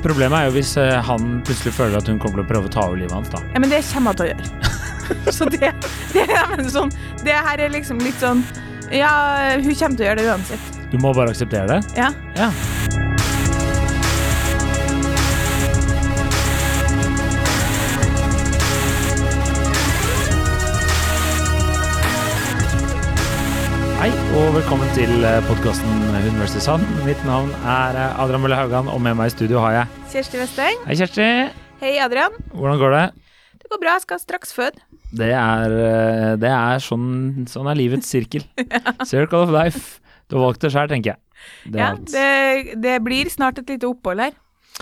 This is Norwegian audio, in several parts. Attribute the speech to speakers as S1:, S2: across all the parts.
S1: Problemet er jo hvis eh, han plutselig føler at hun kommer til å prøve å ta over livet hans, da.
S2: Ja, men det kommer jeg til å gjøre. Så det, det, er men sånn, det her er liksom litt sånn Ja, hun kommer til å gjøre det uansett.
S1: Du må bare akseptere det.
S2: Ja.
S1: Ja. Hei, og velkommen til podkasten Hun versus han. Mitt navn er eh, Adrian Mølle Haugan, og med meg i studio har jeg
S2: Kjersti Westeng.
S1: Hei, Kjersti.
S2: Hei, Adrian.
S1: Hvordan går det?
S2: Det går bra, jeg skal straks føde.
S1: Det er, eh, det er sånn, sånn er livets sirkel. Circle of life. Du har valgt det sjøl, tenker jeg. Det er
S2: Ja,
S1: alt.
S2: det, det blir snart et lite opphold her.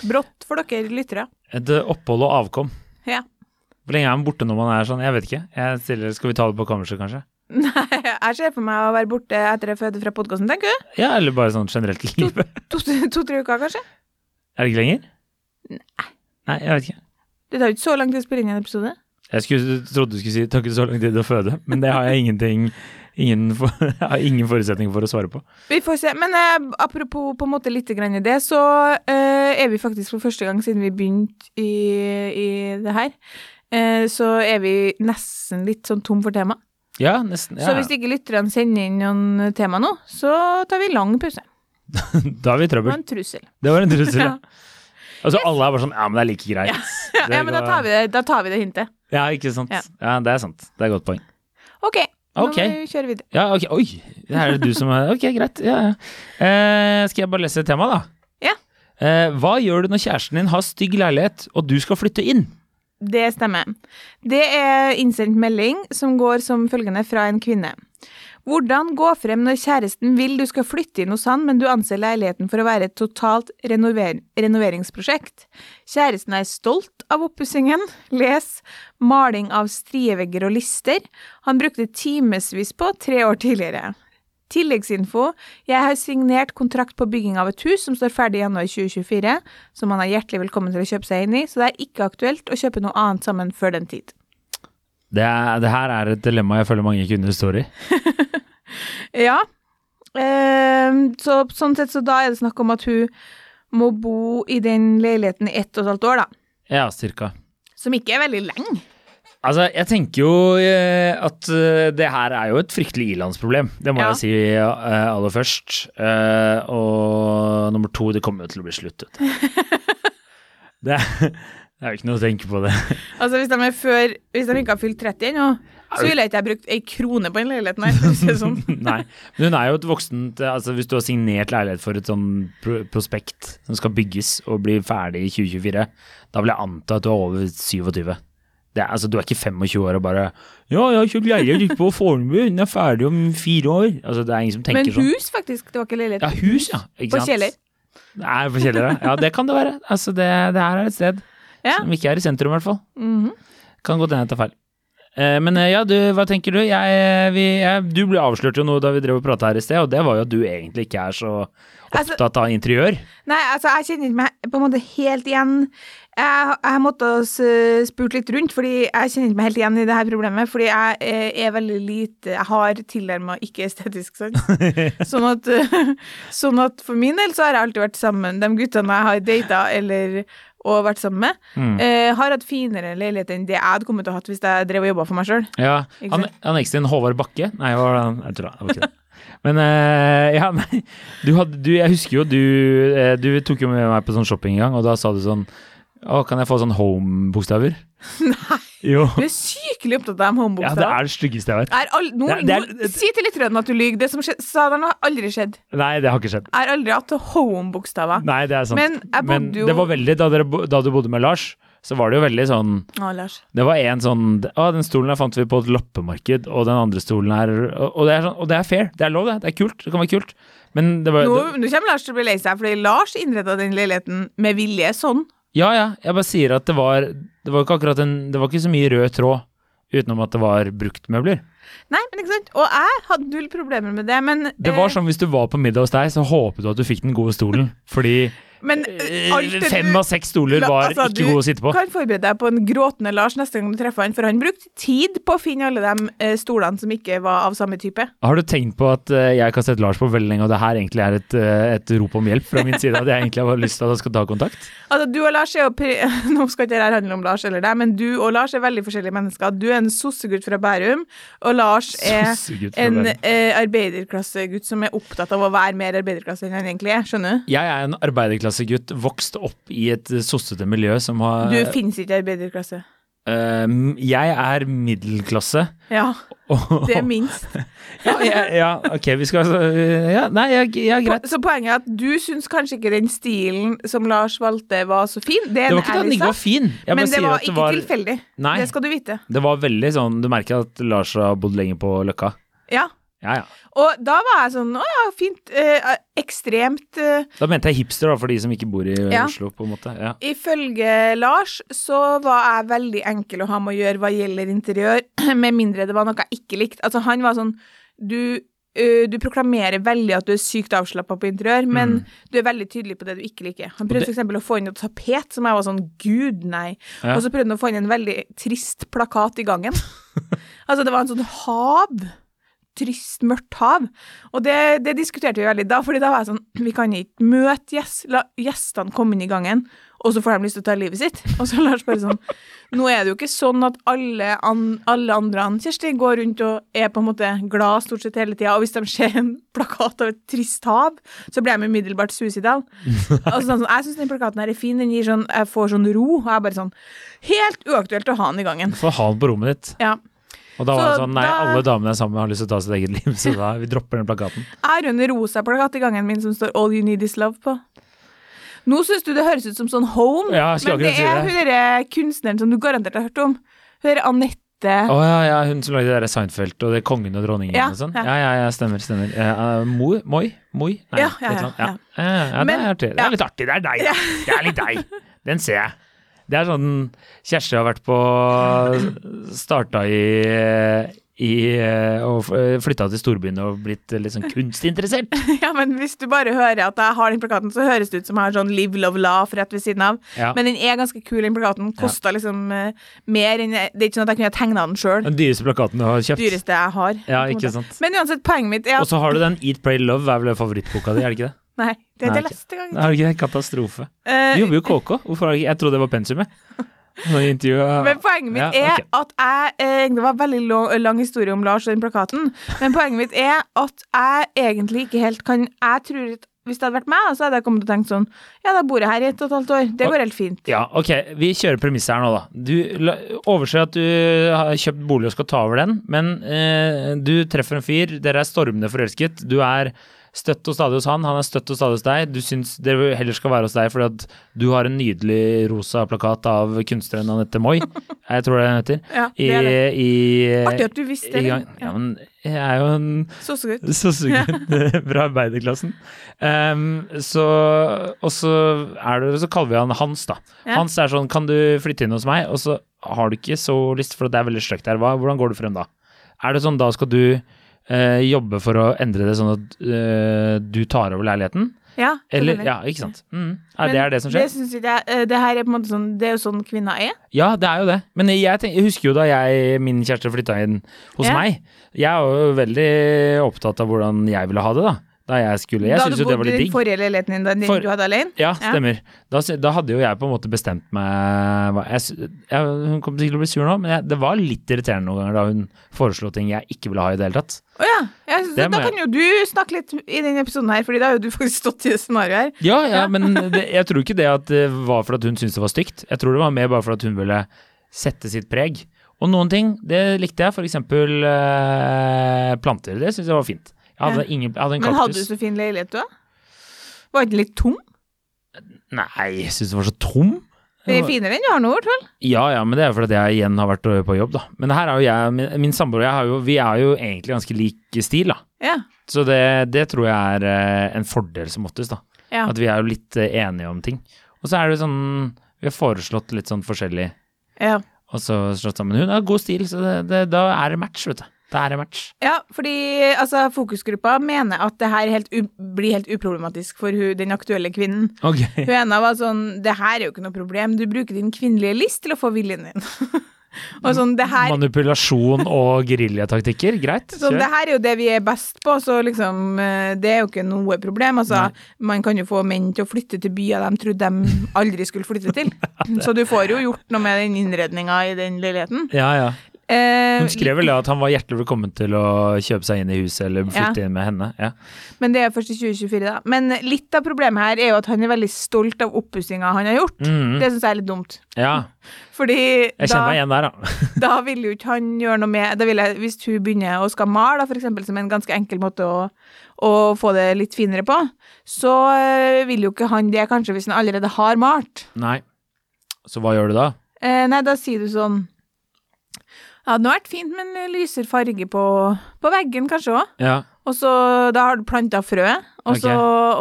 S2: Brått for dere lyttere.
S1: Et eh, opphold og avkom.
S2: Ja.
S1: Hvor lenge er man borte når man er sånn? Jeg vet ikke. Jeg stiller, skal vi ta det på kammerset, kanskje?
S2: Jeg ser for meg å være borte etter jeg føder fra podkasten, tenker du?
S1: Ja, eller bare sånn generelt i livet.
S2: To-tre uker, kanskje?
S1: Er det ikke lenger? Nei, jeg vet ikke.
S2: Det tar jo ikke så lang tid å spille inn en episode.
S1: Jeg skulle, trodde du skulle si 'takk så lang tid å føde', men det har jeg ingenting ingen, for, jeg har ingen forutsetning for å svare på.
S2: Vi får se. Men eh, apropos på en måte litt grann i det, så eh, er vi faktisk for første gang siden vi begynte i, i det her, eh, så er vi nesten litt sånn tom for tema.
S1: Ja, nesten.
S2: Så
S1: Ja.
S2: hvis ikke lytterne sender inn noen tema nå, så tar vi lang pause.
S1: Da er vi i
S2: Det var
S1: trøbbel.
S2: en trussel.
S1: Det var en trussel, ja.
S2: Ja.
S1: Altså, alle er bare sånn 'ja, men det er like greit'.
S2: Ja,
S1: Det
S2: men da
S1: går-
S2: tar, vi det, da tar vi det hintet.
S1: Ja, ikke sant. Ja.
S2: Ja.
S1: det er sant. Det er et godt poeng.
S2: OK, nå
S1: Ok.
S2: må vi kjøre videre.
S1: Ja, ok, oi, det her er det du som er Ok, greit. Ja, ja. Eh, skal jeg bare lese temaet, da?
S2: Ja.
S1: Eh, hva gjør du når kjæresten din har stygg leilighet, og du skal flytte inn?
S2: Det stemmer. Det er innsendt melding som går som følgende fra en kvinne. Hvordan gå frem når kjæresten vil du skal flytte inn hos han, men du anser leiligheten for å være et totalt renover renoveringsprosjekt? Kjæresten er stolt av oppussingen. Les maling av strievegger og lister. Han brukte timevis på tre år tidligere. Tilleggsinfo. Jeg har signert kontrakt på bygging av et hus som står ferdig i januar 2024, som han er hjertelig velkommen til å kjøpe seg inn i, så det er ikke aktuelt å kjøpe noe annet sammen før den tid.
S1: Det, er, det her er et dilemma jeg føler mange kvinner står i.
S2: Ja. Ehm, så sånn sett så da er det snakk om at hun må bo i den leiligheten i ett og et halvt år, da.
S1: Ja, cirka.
S2: Som ikke er veldig lenge.
S1: Altså, jeg tenker jo eh, at eh, det her er jo et fryktelig ilandsproblem. Det må
S2: Ja.
S1: jeg si eh, aller først. Eh, og nummer to, det kommer jo til å bli slutt, vet du. Det, er- det er jo ikke noe å tenke på, det.
S2: Altså hvis de, er før, hvis de ikke har fylt 30 ennå, så ville jeg ikke ha brukt ei krone på den leiligheten her. for å si det Sånn.
S1: Nei, men hun er jo et voksent altså Hvis du har signert leilighet for et sånn pro prospekt som skal bygges og bli ferdig i 2024, da vil jeg anta at du er over 27. Det er, altså, du er ikke 25 år og bare 'Ja, jeg har kjøpt leilighet ute på Fornebu, den er ferdig om fire år'. Altså, det er ingen som
S2: Men
S1: tenker sånn.
S2: hus, faktisk. Det var ikke leilighet.
S1: Ja, hus, ja. Ikke
S2: På
S1: sant?
S2: Kjeller.
S1: Nei, på Kjeller, ja. ja. Det kan det være. Altså, det, det her er et sted
S2: Ja.
S1: som ikke er i sentrum, i hvert fall.
S2: Mhm.
S1: Kan godt hende jeg tar feil. Eh, Men eh, ja, du, hva tenker du? Jeg, eh, vi, jeg, du ble avslørt jo noe da vi drev og prata her i sted, og det var jo at du egentlig ikke er så
S2: Altså-
S1: opptatt av interiør.
S2: Nei, altså, jeg kjenner ikke meg på en måte helt igjen. Jeg, jeg måtte ha s- spurt litt rundt, fordi jeg kjenner ikke meg helt igjen i det her problemet. Fordi jeg eh, er veldig lite Jeg har tilnærma ikke-estetisk sans. Sånn at, eh, sånn at for min del så har jeg alltid vært sammen. De guttene jeg har data eller og vært sammen med,
S1: Mm.
S2: eh, har hatt finere leilighet enn det jeg hadde kommet til å hatt hvis jeg drev og jobba for meg sjøl.
S1: Ja,
S2: Ikke
S1: han,
S2: sant?
S1: han eksen din, Håvard Bakke Nei, hva var det han Jeg tror det var ikke det. Men eh, ja, nei. Du hadde, du, jeg husker jo du eh, Du tok jo med meg på sånn shopping en gang, og da sa du sånn Å, kan jeg få sånn home-bokstaver? Nei. Jo.
S2: Du er sykelig opptatt av de
S1: Ja, det
S2: homebokstavene.
S1: er det styggeste jeg vet.
S2: Er all- nå-
S1: Det er- det er-
S2: nå- Si til lytterne at du lyver. Det som skje- sa der nå, har aldri skjedd.
S1: Nei, det har ikke skjedd.
S2: Jeg har aldri hatt home-bokstaver.
S1: Nei, det er sant.
S2: Men jeg bodde jo-
S1: det var veldig, da, dere, bo- da du bodde med Lars, så var det jo veldig sånn
S2: Å, Lars.
S1: Det var en sånn Å, den stolen her fant vi på et loppemarked, og den andre stolen her Og, og, det, er sånn, og det er fair. Det er lov, det. Det er kult. Det kan være kult. Men det var
S2: Nå, nå kommer Lars til å bli lei seg, fordi Lars innreda den leiligheten med vilje sånn.
S1: Ja, ja. Jeg bare sier at det var Det var ikke akkurat en Det var ikke så mye rød tråd utenom at det var bruktmøbler.
S2: Nei, men ikke sant? Og jeg hadde null problemer med det, men eh,
S1: Det var sånn hvis du var på middag hos deg, så håpet du at du fikk den gode stolen, fordi
S2: Men
S1: Eh,
S2: eh, alt det
S1: Fem
S2: du-
S1: av seks stoler
S2: La-
S1: var
S2: altså,
S1: ikke gode å sitte på.
S2: Du kan forberede deg på en gråtende Lars neste gang du treffer han, for han brukte tid på å finne alle de eh, stolene som ikke var av samme type.
S1: Har du tenkt på at eh, jeg ikke har sett Lars på veldig lenge, og det her egentlig er et, eh, et rop om hjelp fra min side? At jeg egentlig har lyst til at han skal ta kontakt?
S2: Altså, du og Lars er jo pri Nå skal ikke dette handle om Lars eller deg, men du og Lars er veldig forskjellige mennesker. Du er en sossegutt fra Bærum, og Lars er
S1: Sossegutt fra
S2: en
S1: Bærum.
S2: eh, arbeiderklassegutt som er opptatt av å være mer arbeiderklasse enn han egentlig er, skjønner du?
S1: Jeg er en arbeiderklassegutt vokst opp i et eh, sossete miljø som har
S2: Du finnes ikke i arbeiderklasse.
S1: Eh, Jeg er middelklasse.
S2: Ja,
S1: og-
S2: det er minst.
S1: ja, ja, ja, ok, vi skal eh, ja, Nei, jeg, jeg er greit.
S2: Så poenget er at du syns kanskje ikke den stilen som Lars valgte, var så fin. Det er
S1: Det
S2: en
S1: var ikke det at den
S2: ærlig
S1: ikke var
S2: sak.
S1: fin. Jeg
S2: Men
S1: bare
S2: det
S1: sier
S2: var
S1: at
S2: ikke
S1: det var,
S2: tilfeldig.
S1: Nei.
S2: Det skal du vite.
S1: det var veldig sånn Du merker at Lars har bodd lenge på Løkka.
S2: Ja.
S1: Ja, ja.
S2: Og da var jeg sånn Å ja, fint. Eh, ekstremt eh,
S1: Da mente jeg hipster, da, for de som ikke bor i eh,
S2: Ja.
S1: Oslo, på en måte. Ja.
S2: Ifølge Lars så var jeg veldig enkel å ha med å gjøre hva gjelder interiør, med mindre det var noe jeg ikke likte. Altså, han var sånn Du, ø, du proklamerer veldig at du er sykt avslappa på interiør, men du er veldig tydelig på det du ikke liker. Han
S1: Mm. Og
S2: prøvde
S1: det-
S2: f.eks. å få inn et tapet som jeg var sånn Gud, nei.
S1: Ja.
S2: Og så prøvde han å få inn en veldig trist plakat i gangen. altså, det var en sånn hav. Trist, mørkt hav. Og det, det diskuterte vi veldig da, fordi da var jeg sånn Vi kan ikke møte gjest, la gjestene komme inn i gangen, og så får de lyst til å ta livet sitt. Og så Lars bare sånn Nå er det jo ikke sånn at alle, an, alle andre an, Kjersti, går rundt og er på en måte glad stort sett hele tida, og hvis de ser en plakat av et trist hav, så blir de umiddelbart suicidal. Og så sånn, sånn, jeg syns den plakaten her er fin, den gir sånn Jeg får sånn ro, og jeg bare sånn Helt uaktuelt å ha den i gangen.
S1: Få ha den på rommet ditt.
S2: Ja.
S1: Og da var
S2: Så
S1: det sånn Nei,
S2: da-
S1: alle damene jeg er sammen med, har lyst til å ta sitt eget liv, så da vi dropper den plakaten.
S2: Jeg har en rosa plakat i gangen min som står 'All you need is love' på. Nå syns du det høres ut som sånn home,
S1: Ja, jeg skulle
S2: men det
S1: akkurat si
S2: er
S1: det.
S2: hun derre kunstneren som du garantert har hørt om. Hun derre
S1: Å
S2: Anette
S1: ja, ja, hun som lagde det der Seinfeld og det Kongen og dronningen
S2: Ja,
S1: og sånn.
S2: ja.
S1: Ja, ja, ja, stemmer, stemmer. Uh, Moi? Moi? Moi? Nei,
S2: Ja,
S1: et
S2: ja,
S1: eller
S2: ja,
S1: annet. ja. ja, ja, det
S2: Men-
S1: er artig. Det
S2: ja.
S1: er litt artig. Det er deg. da. Det er litt deg. Den ser jeg. Det er sånn Kjersti har vært på Starta i i eh, og flytta til storbyen og blitt litt sånn kunstinteressert.
S2: Ja, men hvis du bare hører at jeg har den plakaten, så høres det ut som jeg har sånn 'Live, love, laugh' rett ved siden av.
S1: Ja.
S2: Men den er ganske kul, den plakaten. Kosta liksom eh, mer enn Det er ikke sånn at jeg kunne ha tegna den sjøl.
S1: Den dyreste plakaten du har kjøpt.
S2: Dyreste jeg har.
S1: Ja,
S2: på en
S1: ikke
S2: måte.
S1: sant.
S2: Men uansett, poenget mitt er
S1: Og
S2: at
S1: så har du den Eat, Pray, Love, er vel favorittboka di, er det ikke det?
S2: Nei, det er
S1: Nei,
S2: det
S1: ok.
S2: neste gang.
S1: Er det ikke det? Katastrofe.
S2: Eh,
S1: Du jobber jo i KK. Hvorfor har du ikke Jeg trodde det var pensumet. Når jeg intervjuet-
S2: Men poenget mitt
S1: Ja,
S2: er
S1: ok.
S2: at jeg eh, egentlig- Det var veldig lang, lang historie om Lars og den plakaten. Men poenget mitt er at jeg egentlig ikke helt kan Jeg tror at hvis det hadde vært meg, så hadde jeg kommet til å tenke sånn Ja, da bor jeg her i ett og et halvt år. Det går helt fint.
S1: Ja, ok, vi kjører premisset her nå, da. Du la- overser at du har kjøpt bolig og skal ta over den, men eh, du treffer en fyr, dere er stormende forelsket, du er støtt og stadig hos han, han er støtt og stadig hos deg, du syns dere heller skal være hos deg fordi at du har en nydelig rosa plakat av kunstneren Anette Moi, jeg tror det hun heter,
S2: Ja,
S1: i,
S2: det er det.
S1: i, eh,
S2: Artig at du visste
S1: i
S2: det.
S1: gang. Ja, men jeg er jo en
S2: Så så godt.
S1: så sugen fra arbeiderklassen. Ehm, så, og så, er det, så kaller vi han Hans, da.
S2: Ja.
S1: Hans er sånn, kan du flytte inn hos meg? Og så har du ikke så lyst, for det er veldig stygt her. Hva, hvordan går du frem da? Er det sånn da skal du eh, jobbe for å endre det sånn at eh, du tar over leiligheten?
S2: Ja,
S1: Eller,
S2: skjønner.
S1: ja, ikke sant. Mm. Nei,
S2: Men
S1: det er det som skjer.
S2: Det, synes ikke jeg, eh, det her er på en måte sånn Det er jo sånn kvinner er.
S1: Ja, det er jo det. Men jeg, tenk, jeg husker jo da jeg, min kjæreste flytta inn hos
S2: Ja.
S1: meg. Jeg er jo veldig opptatt av hvordan jeg ville ha det, da. Da jeg skulle Jeg
S2: da du
S1: syntes jo det
S2: bodde
S1: var
S2: i
S1: litt
S2: den
S1: digg.
S2: forrige leiligheten din, den
S1: For-
S2: du hadde alene.
S1: Ja,
S2: Ja.
S1: stemmer. Da, sy- da hadde jo jeg på en måte bestemt meg hva jeg, sy- jeg, Hun kommer sikkert til å bli sur nå, men jeg, det var litt irriterende noen ganger da hun foreslo ting jeg ikke ville ha i det hele tatt.
S2: Å ja. ja så,
S1: Det
S2: da
S1: må jeg-
S2: kan jo du snakke litt i denne episoden her, Fordi da har jo du faktisk stått i det scenarioet her.
S1: Ja, ja, men det, jeg tror ikke det at det var for at hun syntes det var stygt. Jeg tror det var mer bare for at hun ville sette sitt preg. Og noen ting, det likte jeg. For eksempel eh, planter. Det syns jeg var fint. Jeg hadde, ingen, jeg hadde en
S2: Men hadde du
S1: kaktus.
S2: så fin leilighet, du da? Var ikke den litt tom?
S1: Nei, jeg syns den var så tom.
S2: Det er finere enn du har nå, i hvert fall.
S1: Ja ja, men det er fordi jeg igjen har vært på jobb, da. Men her er jo jeg, min, min samboer og jeg har jo, vi er jo egentlig ganske lik stil, da.
S2: Ja.
S1: Så det, det tror jeg er eh, en fordel som måttes, da.
S2: ja.
S1: At vi er jo litt eh, enige om ting. Og så er det jo sånn Vi har foreslått litt sånn forskjellig
S2: ja.
S1: Og så slått sammen. Hun har god stil, så det, det, da er det match, vet du. Det er en match.
S2: Ja, fordi altså, fokusgruppa mener at det her helt u blir helt uproblematisk for hun, den aktuelle kvinnen.
S1: Ok.
S2: Hun ene var sånn Det her er jo ikke noe problem, du bruker din kvinnelige list til å få viljen din. og sånn, det her
S1: Manipulasjon og geriljataktikker, greit.
S2: Sånn, det
S1: Kjør.
S2: her er jo det vi er best på, så liksom eh, Det er jo ikke noe problem. Altså, man kan jo få menn til å flytte til byer de trodde de aldri skulle flytte til. Så du får jo gjort noe med den innredninga i den leiligheten.
S1: Ja, ja.
S2: Eh,
S1: Hun skrev vel at han var hjertelig velkommen til å kjøpe seg inn i huset eller flytte inn med henne. Ja.
S2: men det er først i 2024, da. Men litt av problemet her er jo at han er veldig stolt av oppussinga han har gjort.
S1: Mhm.
S2: Det syns jeg er litt dumt.
S1: ja.
S2: Fordi
S1: Jeg
S2: da,
S1: kjenner meg igjen der, da.
S2: da vil jo ikke han gjøre noe med da vil jeg, Hvis hun begynner å skal male, da, for eksempel, som er en ganske enkel måte å, å få det litt finere på, så øh, vil jo ikke han det, kanskje, hvis han allerede har malt.
S1: Nei. Så hva gjør du da?
S2: Eh, nei, da sier du sånn Ja, det hadde vært fint med en lysere farge på, på veggen, kanskje òg.
S1: Ja.
S2: Og så Da har du planta frøet, og så,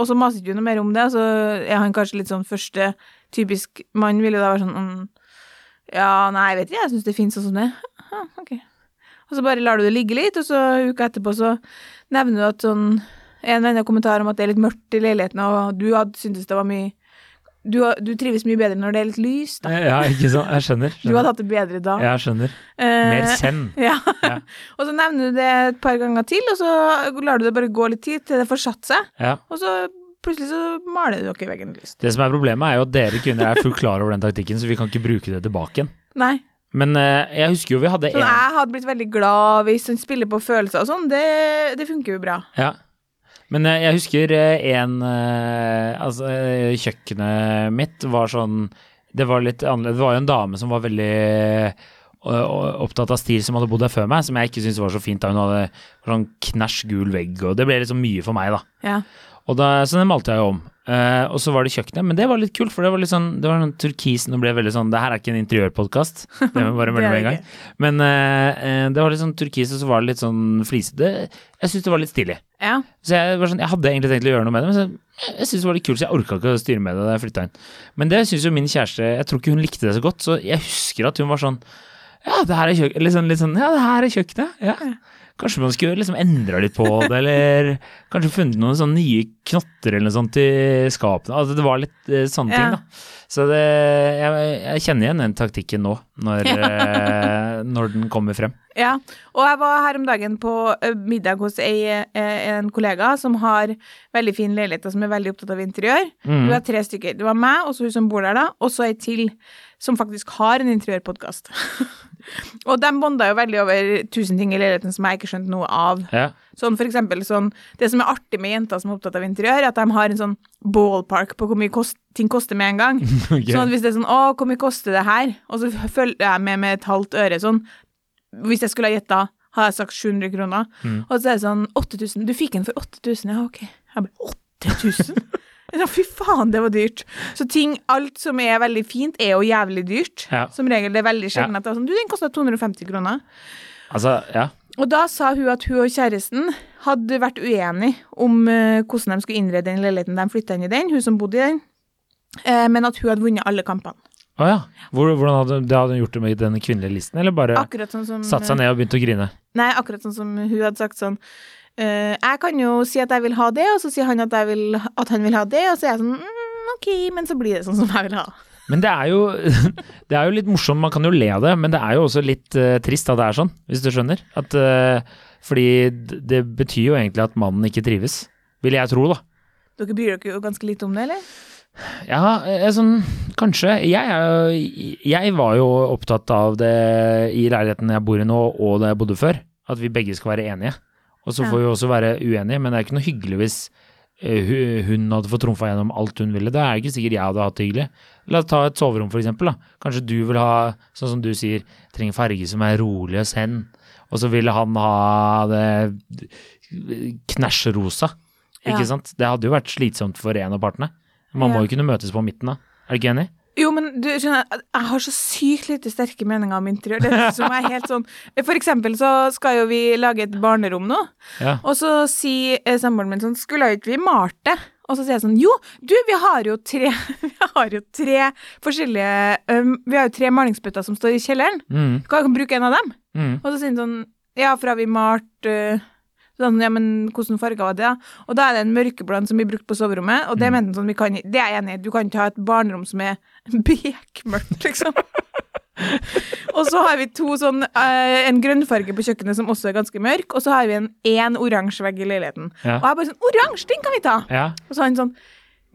S2: og så maser du ikke noe mer om det. Og så er han kanskje litt sånn første typisk mann vil jo da være sånn mm, Ja, nei, jeg vet ikke, jeg syns det fins sånn som det. er. Ja, ok. Og så bare lar du det ligge litt, og så uka etterpå så nevner du at sånn En eller annen kommentar om at det er litt mørkt i leiligheten, og du hadde syntes det var mye Du, du trives mye bedre når det er litt lyst, da.
S1: ja, ikke sant. Jeg skjønner.
S2: Du hadde hatt det bedre da.
S1: Jeg skjønner.
S2: Eh,
S1: Mer send.
S2: ja.
S1: Ja.
S2: og så nevner du det et par ganger til, og så lar du det bare gå litt tid til det får satt seg,
S1: Ja.
S2: og så plutselig så maler dere veggen lyst.
S1: Det som er problemet, er jo at dere kvinner er fullt klar over den taktikken, så vi kan ikke bruke det tilbake igjen.
S2: Nei.
S1: Men eh, jeg husker jo vi hadde
S2: Sånn,
S1: en
S2: jeg hadde blitt veldig glad hvis han spiller på følelser og sånn, det, det funker jo bra.
S1: Ja. Men eh, jeg husker eh, en eh, Altså, eh, kjøkkenet mitt var sånn Det var litt annerledes. Det var jo en dame som var veldig eh, o- opptatt av stil, som hadde bodd der før meg, som jeg ikke syntes var så fint. da Hun hadde sånn knæsj gul vegg, og det ble liksom mye for meg, da.
S2: Ja.
S1: Og da, så den malte jeg jo om. Eh, og så var det kjøkkenet, men det var litt kult, for det var litt sånn, det var noen turkis og det ble veldig sånn Det her er ikke en interiørpodkast, det må jeg bare melde med en
S2: Det er
S1: gang. Men eh, eh, det var litt sånn turkis, og så var det litt sånn flisete. Jeg syntes det var litt stilig.
S2: ja.
S1: Så jeg, var sånn, jeg hadde egentlig tenkt å gjøre noe med det, men så, jeg syntes det var litt kult, så jeg orka ikke å styre med det da jeg flytta inn. Men det syns jo min kjæreste Jeg tror ikke hun likte det så godt, så jeg husker at hun var sånn Ja, det her er kjøkkenet. Litt sånn, litt sånn Ja, det her er kjøkkenet. Ja. Kanskje man skulle liksom endra litt på det, eller kanskje funnet noen sånne nye knotter eller noe sånt i skapene. Altså det var litt eh, sånne
S2: Ja.
S1: ting, da. Så det, jeg, jeg kjenner igjen den taktikken nå, når, eh, når den kommer frem.
S2: Ja, og jeg var her om dagen på ø, middag hos ei, ø, en kollega som har veldig fin leilighet og som er veldig opptatt av interiør.
S1: Mm.
S2: Hun har tre stykker. Det var meg, og så hun som bor der da, og så ei til som faktisk har en interiørpodkast. og de bonda jo veldig over tusen ting i leiligheten som jeg ikke skjønte noe av.
S1: Ja.
S2: Sånn for eksempel sånn Det som er artig med jenter som er opptatt av interiør, er at de har en sånn ballpark på hvor mye kost, ting koster med en gang.
S1: Ok.
S2: Sånn at hvis det er sånn 'Å, hvor mye koster det her?' Og så følger jeg med med et halvt øre sånn Hvis jeg skulle ha gjetta, har jeg sagt 700 kroner.
S1: Mm.
S2: Og så er det sånn 8000. Du fikk den for 8000. Ja, OK. Jeg bare 8000? Ja, fy faen, det var dyrt. Så ting, alt som er veldig fint, er jo jævlig dyrt.
S1: Ja.
S2: Som regel. Det er veldig sjelden
S1: Ja.
S2: at det er sånn Du, den kosta 250 kroner.
S1: Altså, ja.
S2: Og da sa hun at hun og kjæresten hadde vært uenige om eh, hvordan de skulle innrede den leiligheten de flytta inn i den, hun som bodde i den, eh, men at hun hadde vunnet alle kampene.
S1: Å ja. Hvor, hvordan hadde, det hadde hun gjort det med den kvinnelige listen, eller bare
S2: Akkurat sånn som
S1: satt seg ned og begynt å grine?
S2: Nei, akkurat sånn som hun hadde sagt sånn eh, Jeg kan jo si at jeg vil ha det, og så sier han at, jeg vil, at han vil ha det, og så er jeg sånn mm, OK, men så blir det sånn som jeg vil ha.
S1: Men det er jo, det er jo litt morsomt, man kan jo le av det, men det er jo også litt eh, trist at det er sånn, hvis du skjønner. At, eh, fordi d- det betyr jo egentlig at mannen ikke trives, vil jeg tro, da.
S2: Dere bryr dere jo ganske lite om det, eller?
S1: Ja, eh, sånn, kanskje. Jeg, er jo- jeg var jo opptatt av det i leiligheten jeg bor i nå, og da jeg bodde før, at vi begge skal være enige. Og så
S2: Ja.
S1: får vi også være uenige, men det er ikke noe hyggelig hvis eh, hu- hun hadde fått trumfa gjennom alt hun ville. Det er ikke sikkert jeg hadde hatt det hyggelig. La oss ta et soverom, for eksempel. Da. Kanskje du vil ha, sånn som du sier, trenger farge som er rolig og send. Og så ville han ha det knæsjerosa.
S2: Ja.
S1: Ikke sant? Det hadde jo vært slitsomt for en av partene. Man
S2: Ja.
S1: må jo kunne møtes på midten, da. Er du ikke enig?
S2: Jo, men du skjønner, at jeg har så sykt lite sterke meninger om interiør. Det er som er helt sånn For eksempel så skal jo vi lage et barnerom nå,
S1: Ja.
S2: og så sier eh, samboeren min sånn Skulle ikke vi malt det? Og så sier jeg sånn Jo, du, vi har jo tre Vi har jo tre forskjellige øhm, Vi har jo tre malingsbøtter som står i kjelleren.
S1: Mm,
S2: Kan jeg bruke en av dem?
S1: mm.
S2: Og så sier han sånn Ja, for har vi malt eh, sånn, Ja, men hvordan farger var det, da? Og da er det en mørkeblond som blir brukt på soverommet, og det
S1: Mm.
S2: mente han sånn vi kan Det er jeg enig i, du kan ikke ha et barnerom som er bekmørkt, liksom. og så har vi to sånn eh, En grønnfarge på kjøkkenet som også er ganske mørk, og så har vi en én oransje vegg i leiligheten. Og
S1: Ja.
S2: jeg bare sånn Oransje, den kan vi ta!
S1: Ja.
S2: Og så har han sånn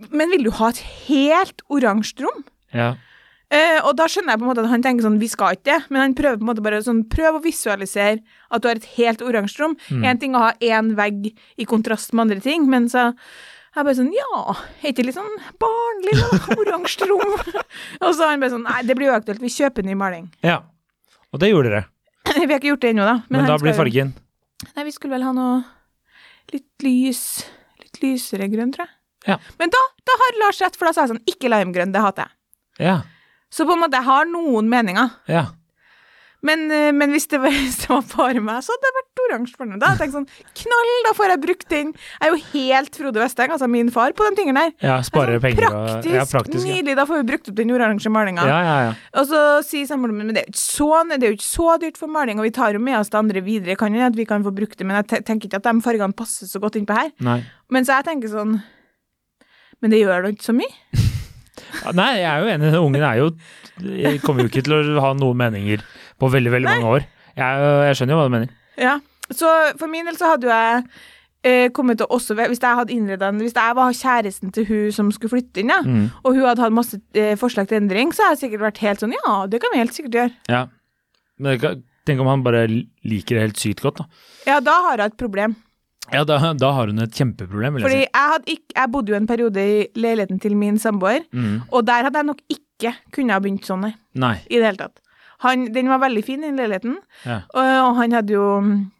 S2: Men vil du ha et helt oransje rom?
S1: ja.
S2: Eh, og da skjønner jeg på en måte at han tenker sånn, vi skal ikke det, men han prøver på en måte bare sånn, prøv å visualisere at du har et helt oransje rom.
S1: Mm.
S2: Én ting å ha én vegg i kontrast med andre ting, men så jeg bare sånn, ja, er ikke det litt sånn barnlig, da, oransje rom? og så han bare sånn, nei, det blir jo aktuelt, vi kjøper ny maling.
S1: ja. Og det gjorde dere.
S2: vi har ikke gjort det ennå, da.
S1: Men,
S2: han
S1: da blir
S2: skal jo-
S1: fargen
S2: Nei, vi skulle vel ha noe litt lys, litt lysere grønn, tror jeg.
S1: Ja.
S2: Men da, da har Lars rett, for da sa jeg sånn, ikke limegrønn, det hater jeg.
S1: Ja.
S2: Så på en måte, jeg har noen meninger.
S1: ja.
S2: Men, eh, men hvis, det var, hvis det var bare meg, så hadde det vært oransje for noe. Da hadde jeg tenkt sånn, knall, da får jeg brukt den. Jeg er jo helt Frode Vesteng, altså min far, på de tingene der.
S1: ja sparer
S2: sånn,
S1: penger og
S2: praktisk,
S1: Ja, praktisk. Ja,
S2: nydelig, da får vi brukt opp den oransje malinga.
S1: ja, ja. ja.
S2: Og så sier samboeren min, men det er, jo ikke så, det er jo ikke så dyrt for maling, og vi tar jo med oss det andre videre, kan jo hende at vi kan få brukt det, men jeg te- tenker ikke at de fargene passer så godt innpå her.
S1: Nei.
S2: Men så jeg tenker sånn, men det gjør da ikke så mye.
S1: Ja, Nei, jeg er jo enig. Den Ungen er jo jeg kommer jo ikke til å ha noen meninger på veldig, veldig mange år. Jeg, er jo- jeg skjønner jo hva du mener.
S2: Ja, så for min del så hadde jo jeg eh, kommet til å også Hvis jeg hadde innredet en Hvis jeg var kjæresten til hun som skulle flytte inn, ja,
S1: Mm.
S2: og hun hadde hatt masse eh, forslag til endring, så hadde jeg sikkert vært helt sånn Ja, det kan vi helt sikkert gjøre.
S1: Ja. Men det kan- tenk om han bare liker det helt sykt godt, da.
S2: Ja, da har jeg et problem.
S1: Ja, da, da har hun et kjempeproblem, vil
S2: Fordi
S1: jeg si.
S2: jeg, hadde ikk- jeg bodde jo en periode i leiligheten til min samboer,
S1: Mm.
S2: og der hadde jeg nok ikke kunnet ha begynt sånn, nei.
S1: Nei.
S2: I det hele tatt. Han, den var veldig fin, den leiligheten,
S1: Ja.
S2: og, eh, og han hadde jo mm,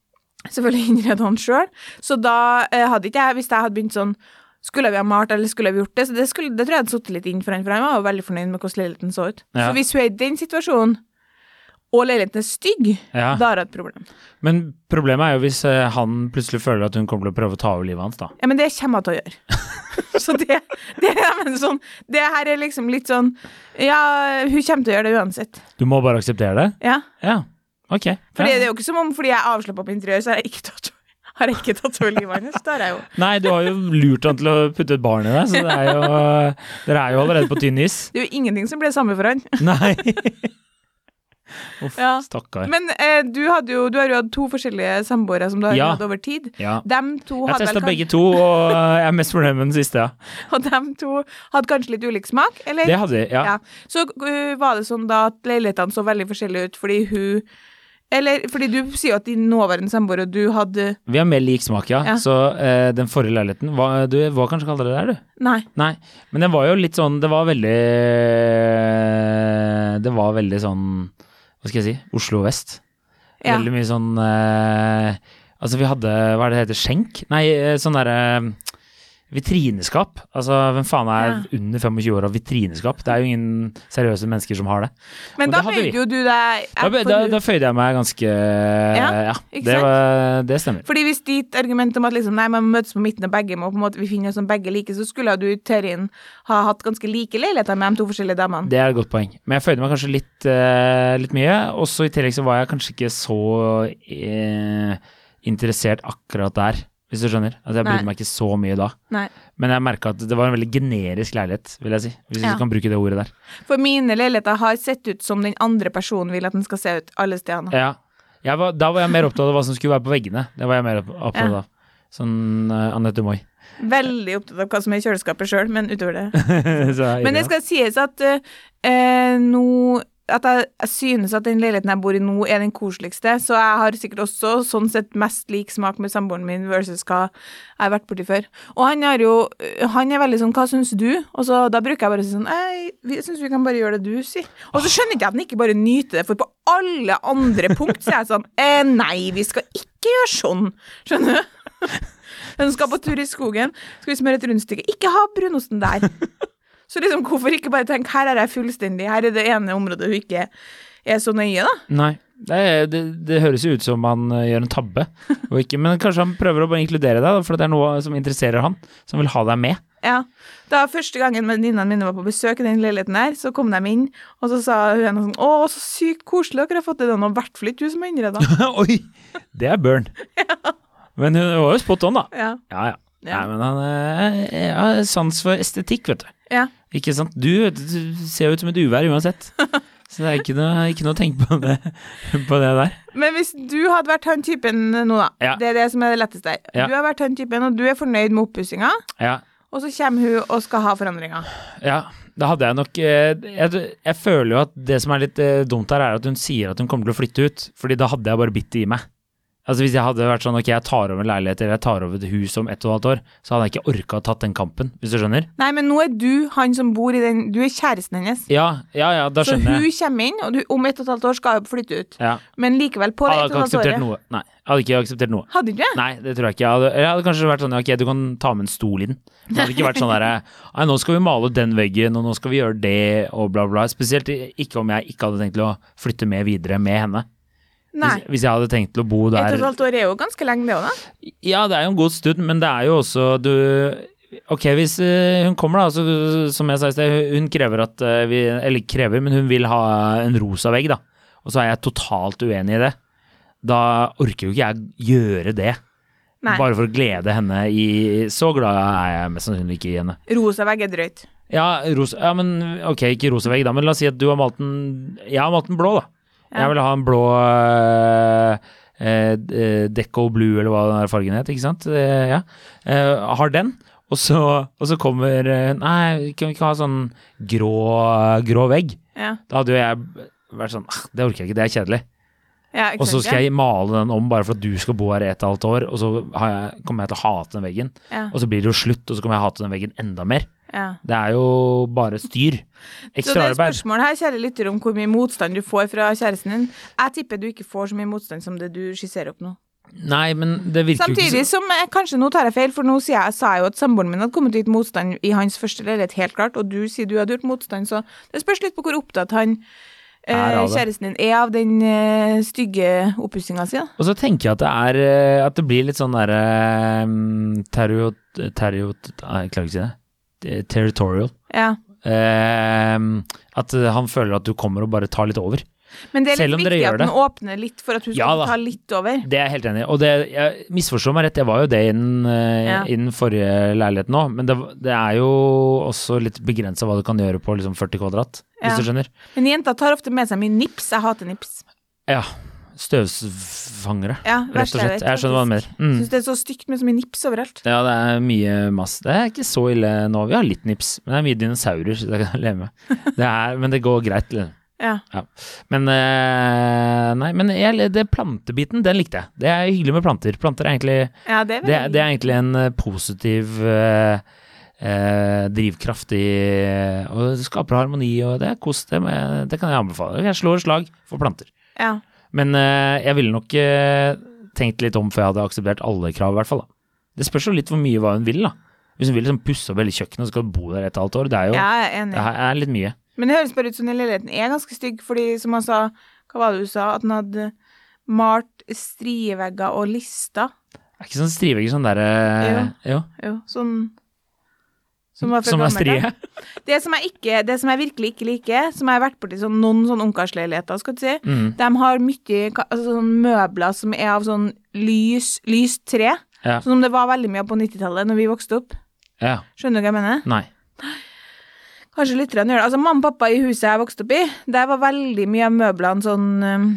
S2: selvfølgelig innredet han sjøl. Så da eh, hadde ikke jeg, hvis jeg hadde begynt sånn skulle vi ha malt, eller skulle vi gjort det? Så det, skulle, det tror jeg hadde sittet litt inn for han, for han var jo veldig fornøyd med hvordan leiligheten så ut.
S1: Ja.
S2: Så hvis hun er i den situasjonen, og leiligheten er stygg,
S1: Ja.
S2: da har hun et problem.
S1: Men problemet er jo hvis eh, han plutselig føler at hun kommer til å prøve å ta over livet hans, da.
S2: Ja, men det kommer hun til å gjøre. så det, det, jeg mener sånn, det her er liksom litt sånn Ja, hun kommer til å gjøre det uansett.
S1: Du må bare akseptere det?
S2: Ja.
S1: Ja. Ok.
S2: Fordi
S1: ja.
S2: det er jo ikke som om fordi jeg er avslappa på interiør, så har jeg ikke tatt har jeg ikke tatt over livet hans. Der er jeg jo.
S1: Nei, du har jo lurt han til å putte et barn i deg, så det er jo, dere er jo allerede på tynn is.
S2: Det er jo ingenting som ble det samme for han.
S1: Nei. Uff,
S2: Ja.
S1: stakkar.
S2: Men eh, du, hadde jo, du har jo hatt to forskjellige samboere som du har
S1: Ja.
S2: hatt over tid.
S1: Ja.
S2: Dem to
S1: Jeg
S2: hadde
S1: testa
S2: vel
S1: begge to, og jeg er mest fornøyd med den siste, ja.
S2: kan- og dem to hadde kanskje litt ulik smak, eller?
S1: Det hadde de, ja.
S2: Ja. Så uh, var det sånn da at leilighetene så veldig forskjellige ut fordi hun Eller fordi du sier jo at din nåværende samboer og du hadde
S1: Vi har mer lik smak, ja.
S2: Ja.
S1: Så eh, den forrige leiligheten hva, Du var kanskje kaldere der, du?
S2: Nei.
S1: Nei. Men den var jo litt sånn Det var veldig Det var veldig sånn Hva skal jeg si? Oslo vest.
S2: Ja.
S1: Veldig mye sånn eh, Altså, vi hadde Hva er det det heter? Skjenk? Nei, eh, sånn derre eh, Vitrineskap. Altså, hvem faen er under 25 år og vitrineskap? Det er jo ingen seriøse mennesker som har det.
S2: Men
S1: Og
S2: da
S1: det hadde vi.
S2: bøyde jo du deg
S1: Da,
S2: for
S1: da,
S2: du-
S1: da føyde jeg meg ganske Ja,
S2: ikke
S1: det,
S2: sant?
S1: var, det stemmer.
S2: Fordi hvis ditt argument om at liksom, nei, man møtes på midten og begge må på en måte, vi finner oss som begge liker, så skulle du i teorien ha hatt ganske like leiligheter med de to forskjellige damene.
S1: Det er et godt poeng. Men jeg føyde meg kanskje litt, eh, litt mye. Og så i tillegg så var jeg kanskje ikke så eh, interessert akkurat der, hvis du skjønner. Altså jeg
S2: Nei.
S1: brydde meg ikke så mye da.
S2: Nei.
S1: Men jeg merka at det var en veldig generisk leilighet, vil jeg si. Hvis
S2: Ja.
S1: du kan bruke det ordet der.
S2: For mine leiligheter har sett ut som den andre personen vil at den skal se ut alle stedene.
S1: Ja. Jeg var, da var jeg mer opptatt av hva som skulle være på veggene. Det var jeg mer opp- opptatt
S2: Ja.
S1: av. Sånn eh, Anette Moi.
S2: Veldig opptatt av hva som er i kjøleskapet sjøl, men utover det. Men
S1: Men
S2: det skal sies at eh, eh, nå at jeg, jeg synes at den leiligheten jeg bor i nå, er den koseligste, så jeg har sikkert også sånn sett mest lik smak med samboeren min versus hva jeg har vært borti før. Og han har jo eh, Han er veldig sånn 'hva syns du?' Og så da bruker jeg bare å si sånn 'nei, vi- jeg syns vi kan bare gjøre det du sier'. Og så skjønner ikke jeg at han ikke bare nyter det, for på alle andre punkt så er jeg sånn eh, 'nei, vi skal ikke gjøre sånn'. Skjønner du? Hun skal på tur i skogen, skal vi smøre et rundstykke. Ikke ha brunosten der. Så liksom, hvorfor ikke bare tenke her er jeg fullstendig, her er det ene området hun ikke er så nøye, da.
S1: Nei. Det, er- det, det høres jo ut som han eh, gjør en tabbe, og ikke, men kanskje han prøver å bare inkludere deg, da, for det er noe som interesserer han, som vil ha deg med.
S2: Ja. Da første gangen venninnene mine var på besøk i den leiligheten der, så kom de inn, og så sa hun ene sånn Å, så sykt koselig dere har fått til det nå, i hvert fall ikke du som har innreda.
S1: Oi! Det er burn. Men hun var jo spot on, da.
S2: Ja.
S1: Ja, ja. Nei,
S2: Ja.
S1: men han eh, jeg har sans for estetikk, vet du.
S2: ja.
S1: Ikke sant? Du, du ser jo ut som et uvær uansett. Så det er ikke noe, ikke noe å tenke på det, på det der.
S2: Men hvis du hadde vært han typen nå, da.
S1: Ja.
S2: Det er det som er det letteste her.
S1: Ja.
S2: Du har vært han typen, og du er fornøyd med oppussinga,
S1: Ja.
S2: og så kommer hun og skal ha forandringer.
S1: ja. Da hadde jeg nok eh, jeg, jeg føler jo at det som er litt eh, dumt her, er at hun sier at hun kommer til å flytte ut. Fordi da hadde jeg bare bitt det i meg. Altså Hvis jeg hadde vært sånn ok, jeg tar over en leilighet eller jeg tar over et hus om ett og et halvt år, så hadde jeg ikke orka å tatt den kampen, hvis du skjønner?
S2: Nei, men nå er du han som bor i den Du er kjæresten hennes.
S1: Ja, ja, ja, da
S2: Så
S1: skjønner
S2: hun
S1: jeg.
S2: kommer inn, og du, om et og et halvt år skal hun flytte ut.
S1: Ja.
S2: Men likevel, på det
S1: Jeg hadde
S2: ett og
S1: ikke Ah,
S2: et halvt
S1: akseptert
S2: året
S1: noe. Nei, jeg hadde ikke akseptert noe.
S2: Hadde ikke det?
S1: Nei, det tror jeg ikke. Jeg hadde, jeg hadde kanskje vært sånn ja, ok, du kan ta med en stol i den. Men det hadde ikke vært sånn derre Nei, nå skal vi male den veggen, og nå skal vi gjøre det, og bla, bla. Spesielt ikke om jeg ikke hadde tenkt til å flytte med videre med henne.
S2: Nei.
S1: Hvis, hvis jeg hadde tenkt til å bo
S2: Et og
S1: der
S2: et halvt år er jo ganske lenge, det òg, da.
S1: Ja, det er jo en god stund, men det er jo også du Ok, hvis eh, hun kommer, da, så, som jeg sa i sted, hun- hun krever at eh, vi Eller krever, men hun vil ha en rosa vegg, da. Og så er jeg totalt uenig i det. Da orker jo ikke jeg gjøre det.
S2: Nei.
S1: Bare for å glede henne i Så glad er jeg mest sannsynlig ikke i henne.
S2: Rosa vegg er drøyt.
S1: Ja, rosa, ja men ok, ikke rosa vegg, da, men la oss si at du har malt den Jeg har malt den blå, da.
S2: Ja.
S1: Jeg vil ha en blå eh, eh, Deco Blue, eller hva den der fargen het, ikke sant? Eh, ja. Eh, har den, og så, og så kommer eh, Nei, kan vi ikke ha sånn grå, grå vegg?
S2: Ja.
S1: Da hadde jo jeg vært sånn «Ah, Det orker jeg ikke, det er kjedelig.
S2: Ja,
S1: Og så skal jeg male den om bare for at du skal bo her i et og et halvt år, og så har jeg, kommer jeg til å hate den veggen.
S2: Ja.
S1: Og så blir det jo slutt, og så kommer jeg hate den veggen enda mer.
S2: ja.
S1: Det er jo bare styr.
S2: Så det
S1: Ekstra
S2: er
S1: arbeid.
S2: spørsmålet her, kjære lytter, om hvor mye motstand du får fra kjæresten din. Jeg tipper du ikke får så mye motstand som det du skisserer opp nå.
S1: Nei, men det virker jo
S2: Samtidig
S1: ikke
S2: som eh, Kanskje nå tar jeg feil, for nå sier jeg, sa jeg jo at samboeren min hadde kommet ut motstand i hans første leilighet, helt klart, og du sier du hadde gjort motstand, så det spørs litt på hvor opptatt han
S1: Er
S2: eh,
S1: av det.
S2: kjæresten din er av den eh, stygge oppussinga si, da.
S1: Og så tenker jeg at det er eh, At det blir litt sånn derre Terriot... Terriot... Nei, jeg klarer ikke å si det. Eh, Territorial.
S2: Ja.
S1: Eh, at eh, han føler at du kommer og bare tar litt over.
S2: Men det er
S1: Selv
S2: litt
S1: om dere
S2: viktig
S1: gjør
S2: at
S1: det.
S2: den åpner litt for at hun
S1: Ja
S2: skal
S1: da.
S2: ta litt over.
S1: Det er jeg helt enig i. Og det, jeg misforstår meg rett, jeg var jo det i den, eh,
S2: Ja.
S1: i den forrige leiligheten òg, men det, det er jo også litt begrensa hva du kan gjøre på liksom 40 kvadrat,
S2: Ja.
S1: hvis du skjønner.
S2: Men jenter tar ofte med seg mye nips. Jeg hater nips.
S1: Ja. Støvfangere,
S2: Ja,
S1: rett og slett. Jeg skjønner hva du mener. Mm.
S2: Syns det er så stygt med så mye nips overalt.
S1: Ja, det er mye mass. Det er ikke så ille nå. Vi har litt nips, men det er mye dinosaurer, så det kan jeg leve med. Det er, men det går greit. eller?
S2: Ja.
S1: Men eh, Nei, men jeg, det plantebiten, den likte jeg. Det er hyggelig med planter. Planter er egentlig
S2: ja, det er
S1: Det,
S2: veldig
S1: det er egentlig en eh, positiv eh, eh, drivkraft i eh, Og det skaper harmoni, og det er kos. Det, må jeg- det kan jeg anbefale. Jeg slår slag for planter.
S2: ja.
S1: Men eh, jeg ville nok eh, tenkt litt om før jeg hadde akseptert alle krav, i hvert fall. Da. Det spørs jo litt hvor mye hva hun vil, da. Hvis hun vil liksom pusse opp hele kjøkkenet og skal hun bo der et halvt år, det er jo
S2: ja, jeg er
S1: det
S2: enig.
S1: her er litt mye.
S2: Men det høres bare ut som den leiligheten er ganske stygg, fordi som han sa Hva var det du sa? At han hadde malt strievegger og lister.
S1: Det er ikke sånn strivegger sånn derre Jo.
S2: Jo, sånn Som var fra
S1: Som er
S2: gammelt av.
S1: strie.
S2: Det som jeg, ikke, det som jeg virkelig ikke liker, som jeg har vært borti sånn, noen sånn ungkarsleiligheter, skal du si,
S1: Mm.
S2: de har mye ka- altså, sånn møbler som er av sånn lys, lyst tre.
S1: Ja.
S2: Sånn som det var veldig mye av på 90-tallet når vi vokste opp.
S1: ja.
S2: Skjønner du hva jeg mener?
S1: Nei.
S2: Kanskje lytterne gjør det. Altså, mamma og pappa i huset jeg vokste opp i, der var veldig mye av møblene sånn um,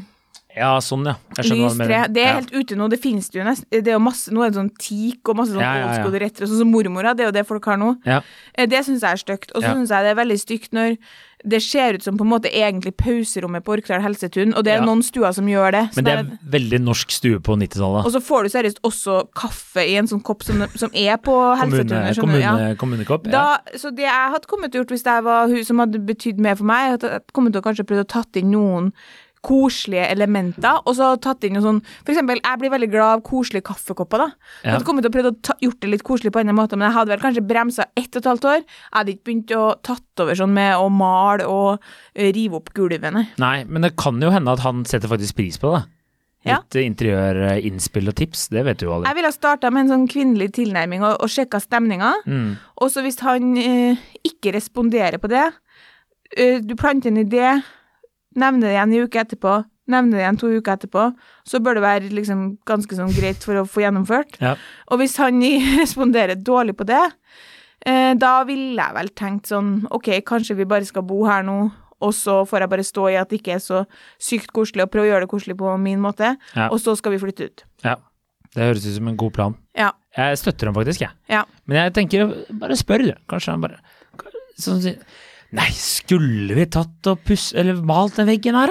S1: Ja, sånn, ja. Jeg skjønner hva
S2: lys
S1: du
S2: tre.
S1: mener.
S2: Det er
S1: Ja.
S2: helt ute nå, det finnes det jo nesten. Det er jo masse, nå er det sånn teak og masse sånn
S1: Ja, ja, ja.
S2: old school retro, sånn som mormora, det er jo det folk har nå.
S1: Ja.
S2: Eh, Det syns jeg er stygt. Og så
S1: Ja.
S2: synes syns jeg det er veldig stygt når det ser ut som på en måte egentlig pauserommet på Orkdal Helsetun, og det er
S1: Ja.
S2: noen stuer som gjør det. Sånn
S1: Men det
S2: der-
S1: er veldig norsk stue på 90-tallet.
S2: Og så får du seriøst også kaffe i en sånn kopp som, som er på
S1: Kommune,
S2: helsetunet. skjønner du?
S1: kommune,
S2: Ja.
S1: kommunekopp. Ja.
S2: Da, så det jeg hadde kommet til å gjort hvis jeg var hun som hadde betydd mer for meg, at jeg hadde kommet til å kanskje prøvd å tatt inn noen koselige elementer, og så tatt inn noe sånn For eksempel, jeg blir veldig glad av koselige kaffekopper, da. Jeg
S1: Ja.
S2: hadde kommet til å prøvd å ta, gjort det litt koselig på andre måter, men jeg hadde vel kanskje bremsa ett og et halvt år. Jeg hadde ikke begynt å tatt over sånn med å male og eh, rive opp gulvet, nei.
S1: Nei, men det kan jo hende at han setter faktisk pris på det.
S2: Ja.
S1: Litt eh, interiørinnspill og tips, det vet du jo aldri.
S2: Jeg ville ha starta med en sånn kvinnelig tilnærming og, og sjekka stemninga.
S1: Mm.
S2: Og så hvis han eh, ikke responderer på det, eh, du planter en idé, nevner det igjen en uke etterpå, nevner det igjen to uker etterpå, så bør det være liksom ganske sånn greit for å få gjennomført.
S1: Ja.
S2: Og hvis han i- responderer dårlig på det, eh, da ville jeg vel tenkt sånn, ok, kanskje vi bare skal bo her nå, og så får jeg bare stå i at det ikke er så sykt koselig, og prøve å gjøre det koselig på min måte,
S1: Ja.
S2: og så skal vi flytte ut.
S1: ja. Det høres ut som en god plan.
S2: Ja,
S1: Jeg støtter ham faktisk, jeg.
S2: ja.
S1: Men jeg tenker, bare spør du. Kanskje han bare sånn, sier, Nei, skulle vi tatt og puss... Eller malt den veggen her,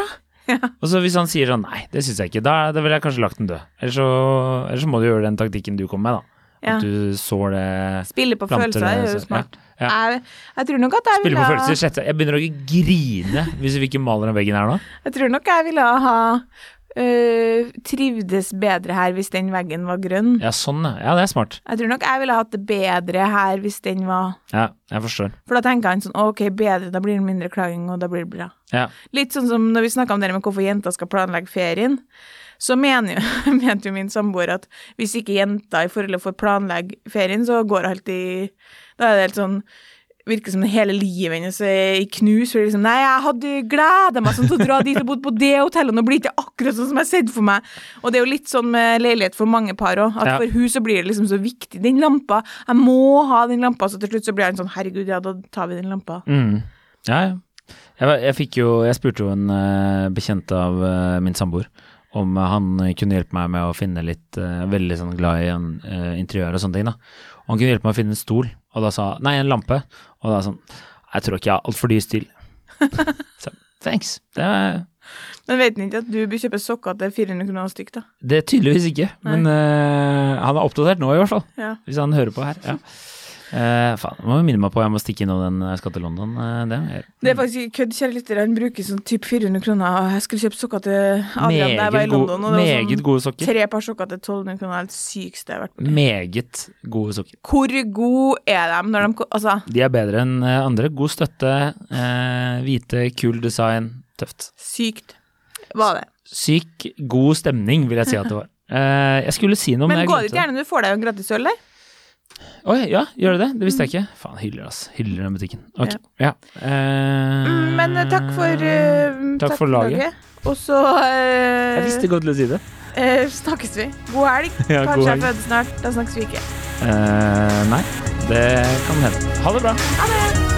S1: da? Og så hvis han sier sånn nei, det syns jeg ikke, da, da ville jeg kanskje lagt den død. Eller så, eller så må du gjøre den taktikken du kom med, da.
S2: Ja.
S1: At du sår det
S2: Spille på
S1: planter
S2: følelser er
S1: det,
S2: jo
S1: så-
S2: smart.
S1: Ja, ja.
S2: Jeg, jeg tror nok at jeg
S1: Spille
S2: ville
S1: på
S2: ha-
S1: følelser. Slette. Jeg begynner å grine hvis vi ikke maler den veggen her nå.
S2: Jeg tror nok jeg ville ha øh, trivdes bedre her hvis den veggen var grønn.
S1: Ja, sånn, ja. ja. Det er smart.
S2: Jeg tror nok jeg ville hatt det bedre her hvis den var
S1: Ja, jeg forstår.
S2: For da tenker han sånn OK, bedre, da blir det mindre klaging, og da blir det bra.
S1: Ja.
S2: Litt sånn som når vi snakka om det med hvorfor jenter skal planlegge ferien. Så mener jo, mente jo min samboer at hvis ikke jenta i forholdet får planlegge ferien, så går alt i Da er det helt sånn Virker som hele livet hennes er i knus. For det er liksom, nei, jeg hadde gleda meg sånn til å dra dit og bodd på det hotellet, og nå blir det ikke akkurat sånn som jeg har sett for meg. Og det er jo litt sånn med leilighet for mange par òg, at
S1: Ja.
S2: for hun så blir det liksom så viktig. Den lampa, jeg må ha den lampa. Så til slutt så blir han sånn, herregud, ja, da tar vi den lampa.
S1: Mm. Ja, ja. Jeg, var- jeg fikk jo Jeg spurte jo en eh, bekjent av eh, min samboer om eh, han kunne hjelpe meg med å finne litt eh, Veldig sånn glad i en, eh, interiør og sånne ting, da. Og han kunne hjelpe meg å finne en stol, og da sa Nei, en lampe. Og da sånn Jeg tror ikke jeg har altfor dyr stil. Så, thanks. Det er
S2: Men vet han ikke at du bør kjøpe sokker til 400 kroner stykk, da?
S1: det er tydeligvis ikke, men eh, han er oppdatert nå i hvert fall.
S2: Ja.
S1: Hvis han hører på her. Ja. Eh, faen, nå må jeg minne meg på jeg må stikke innom den eh, skal til London. eh, det må jeg gjøre.
S2: Det er faktisk ikke kødd, kjære lyttere. Han bruker sånn type 400 kroner. Og jeg skulle kjøpe sokker til Adrian da jeg var i
S1: Meget,
S2: London,
S1: gode-
S2: og det
S1: meget
S2: var
S1: gode sokker.
S2: sånn tre par sokker til 1200 kroner. Helt sykeste jeg har vært med.
S1: Meget gode sokker.
S2: Hvor god er de når de ko- Altså,
S1: De er bedre enn eh, andre. God støtte, eh, hvite, kul design, tøft.
S2: sykt var det.
S1: Syk god stemning, vil jeg si at det var. Eh, jeg skulle si noe, men,
S2: Men
S1: jeg
S2: går det
S1: glemte
S2: ikke
S1: det.
S2: gjerne når du får deg en gratis øl der?
S1: Oi, ja, gjør det det? Det visste jeg ikke.
S2: Mm.
S1: Faen, hyller, ass. Hyller den butikken. Ok, ja. Eh,
S2: Men eh, takk for eh,
S1: Takk for laget.
S2: Og så eh,
S1: Jeg visste godt til å si det.
S2: eh, snakkes vi. God helg.
S1: Ja, god
S2: Kanskje jeg
S1: helg.
S2: føder snart. Da snakkes vi ikke.
S1: Eh, nei, det kan hende. Ha det bra.
S2: Ha det.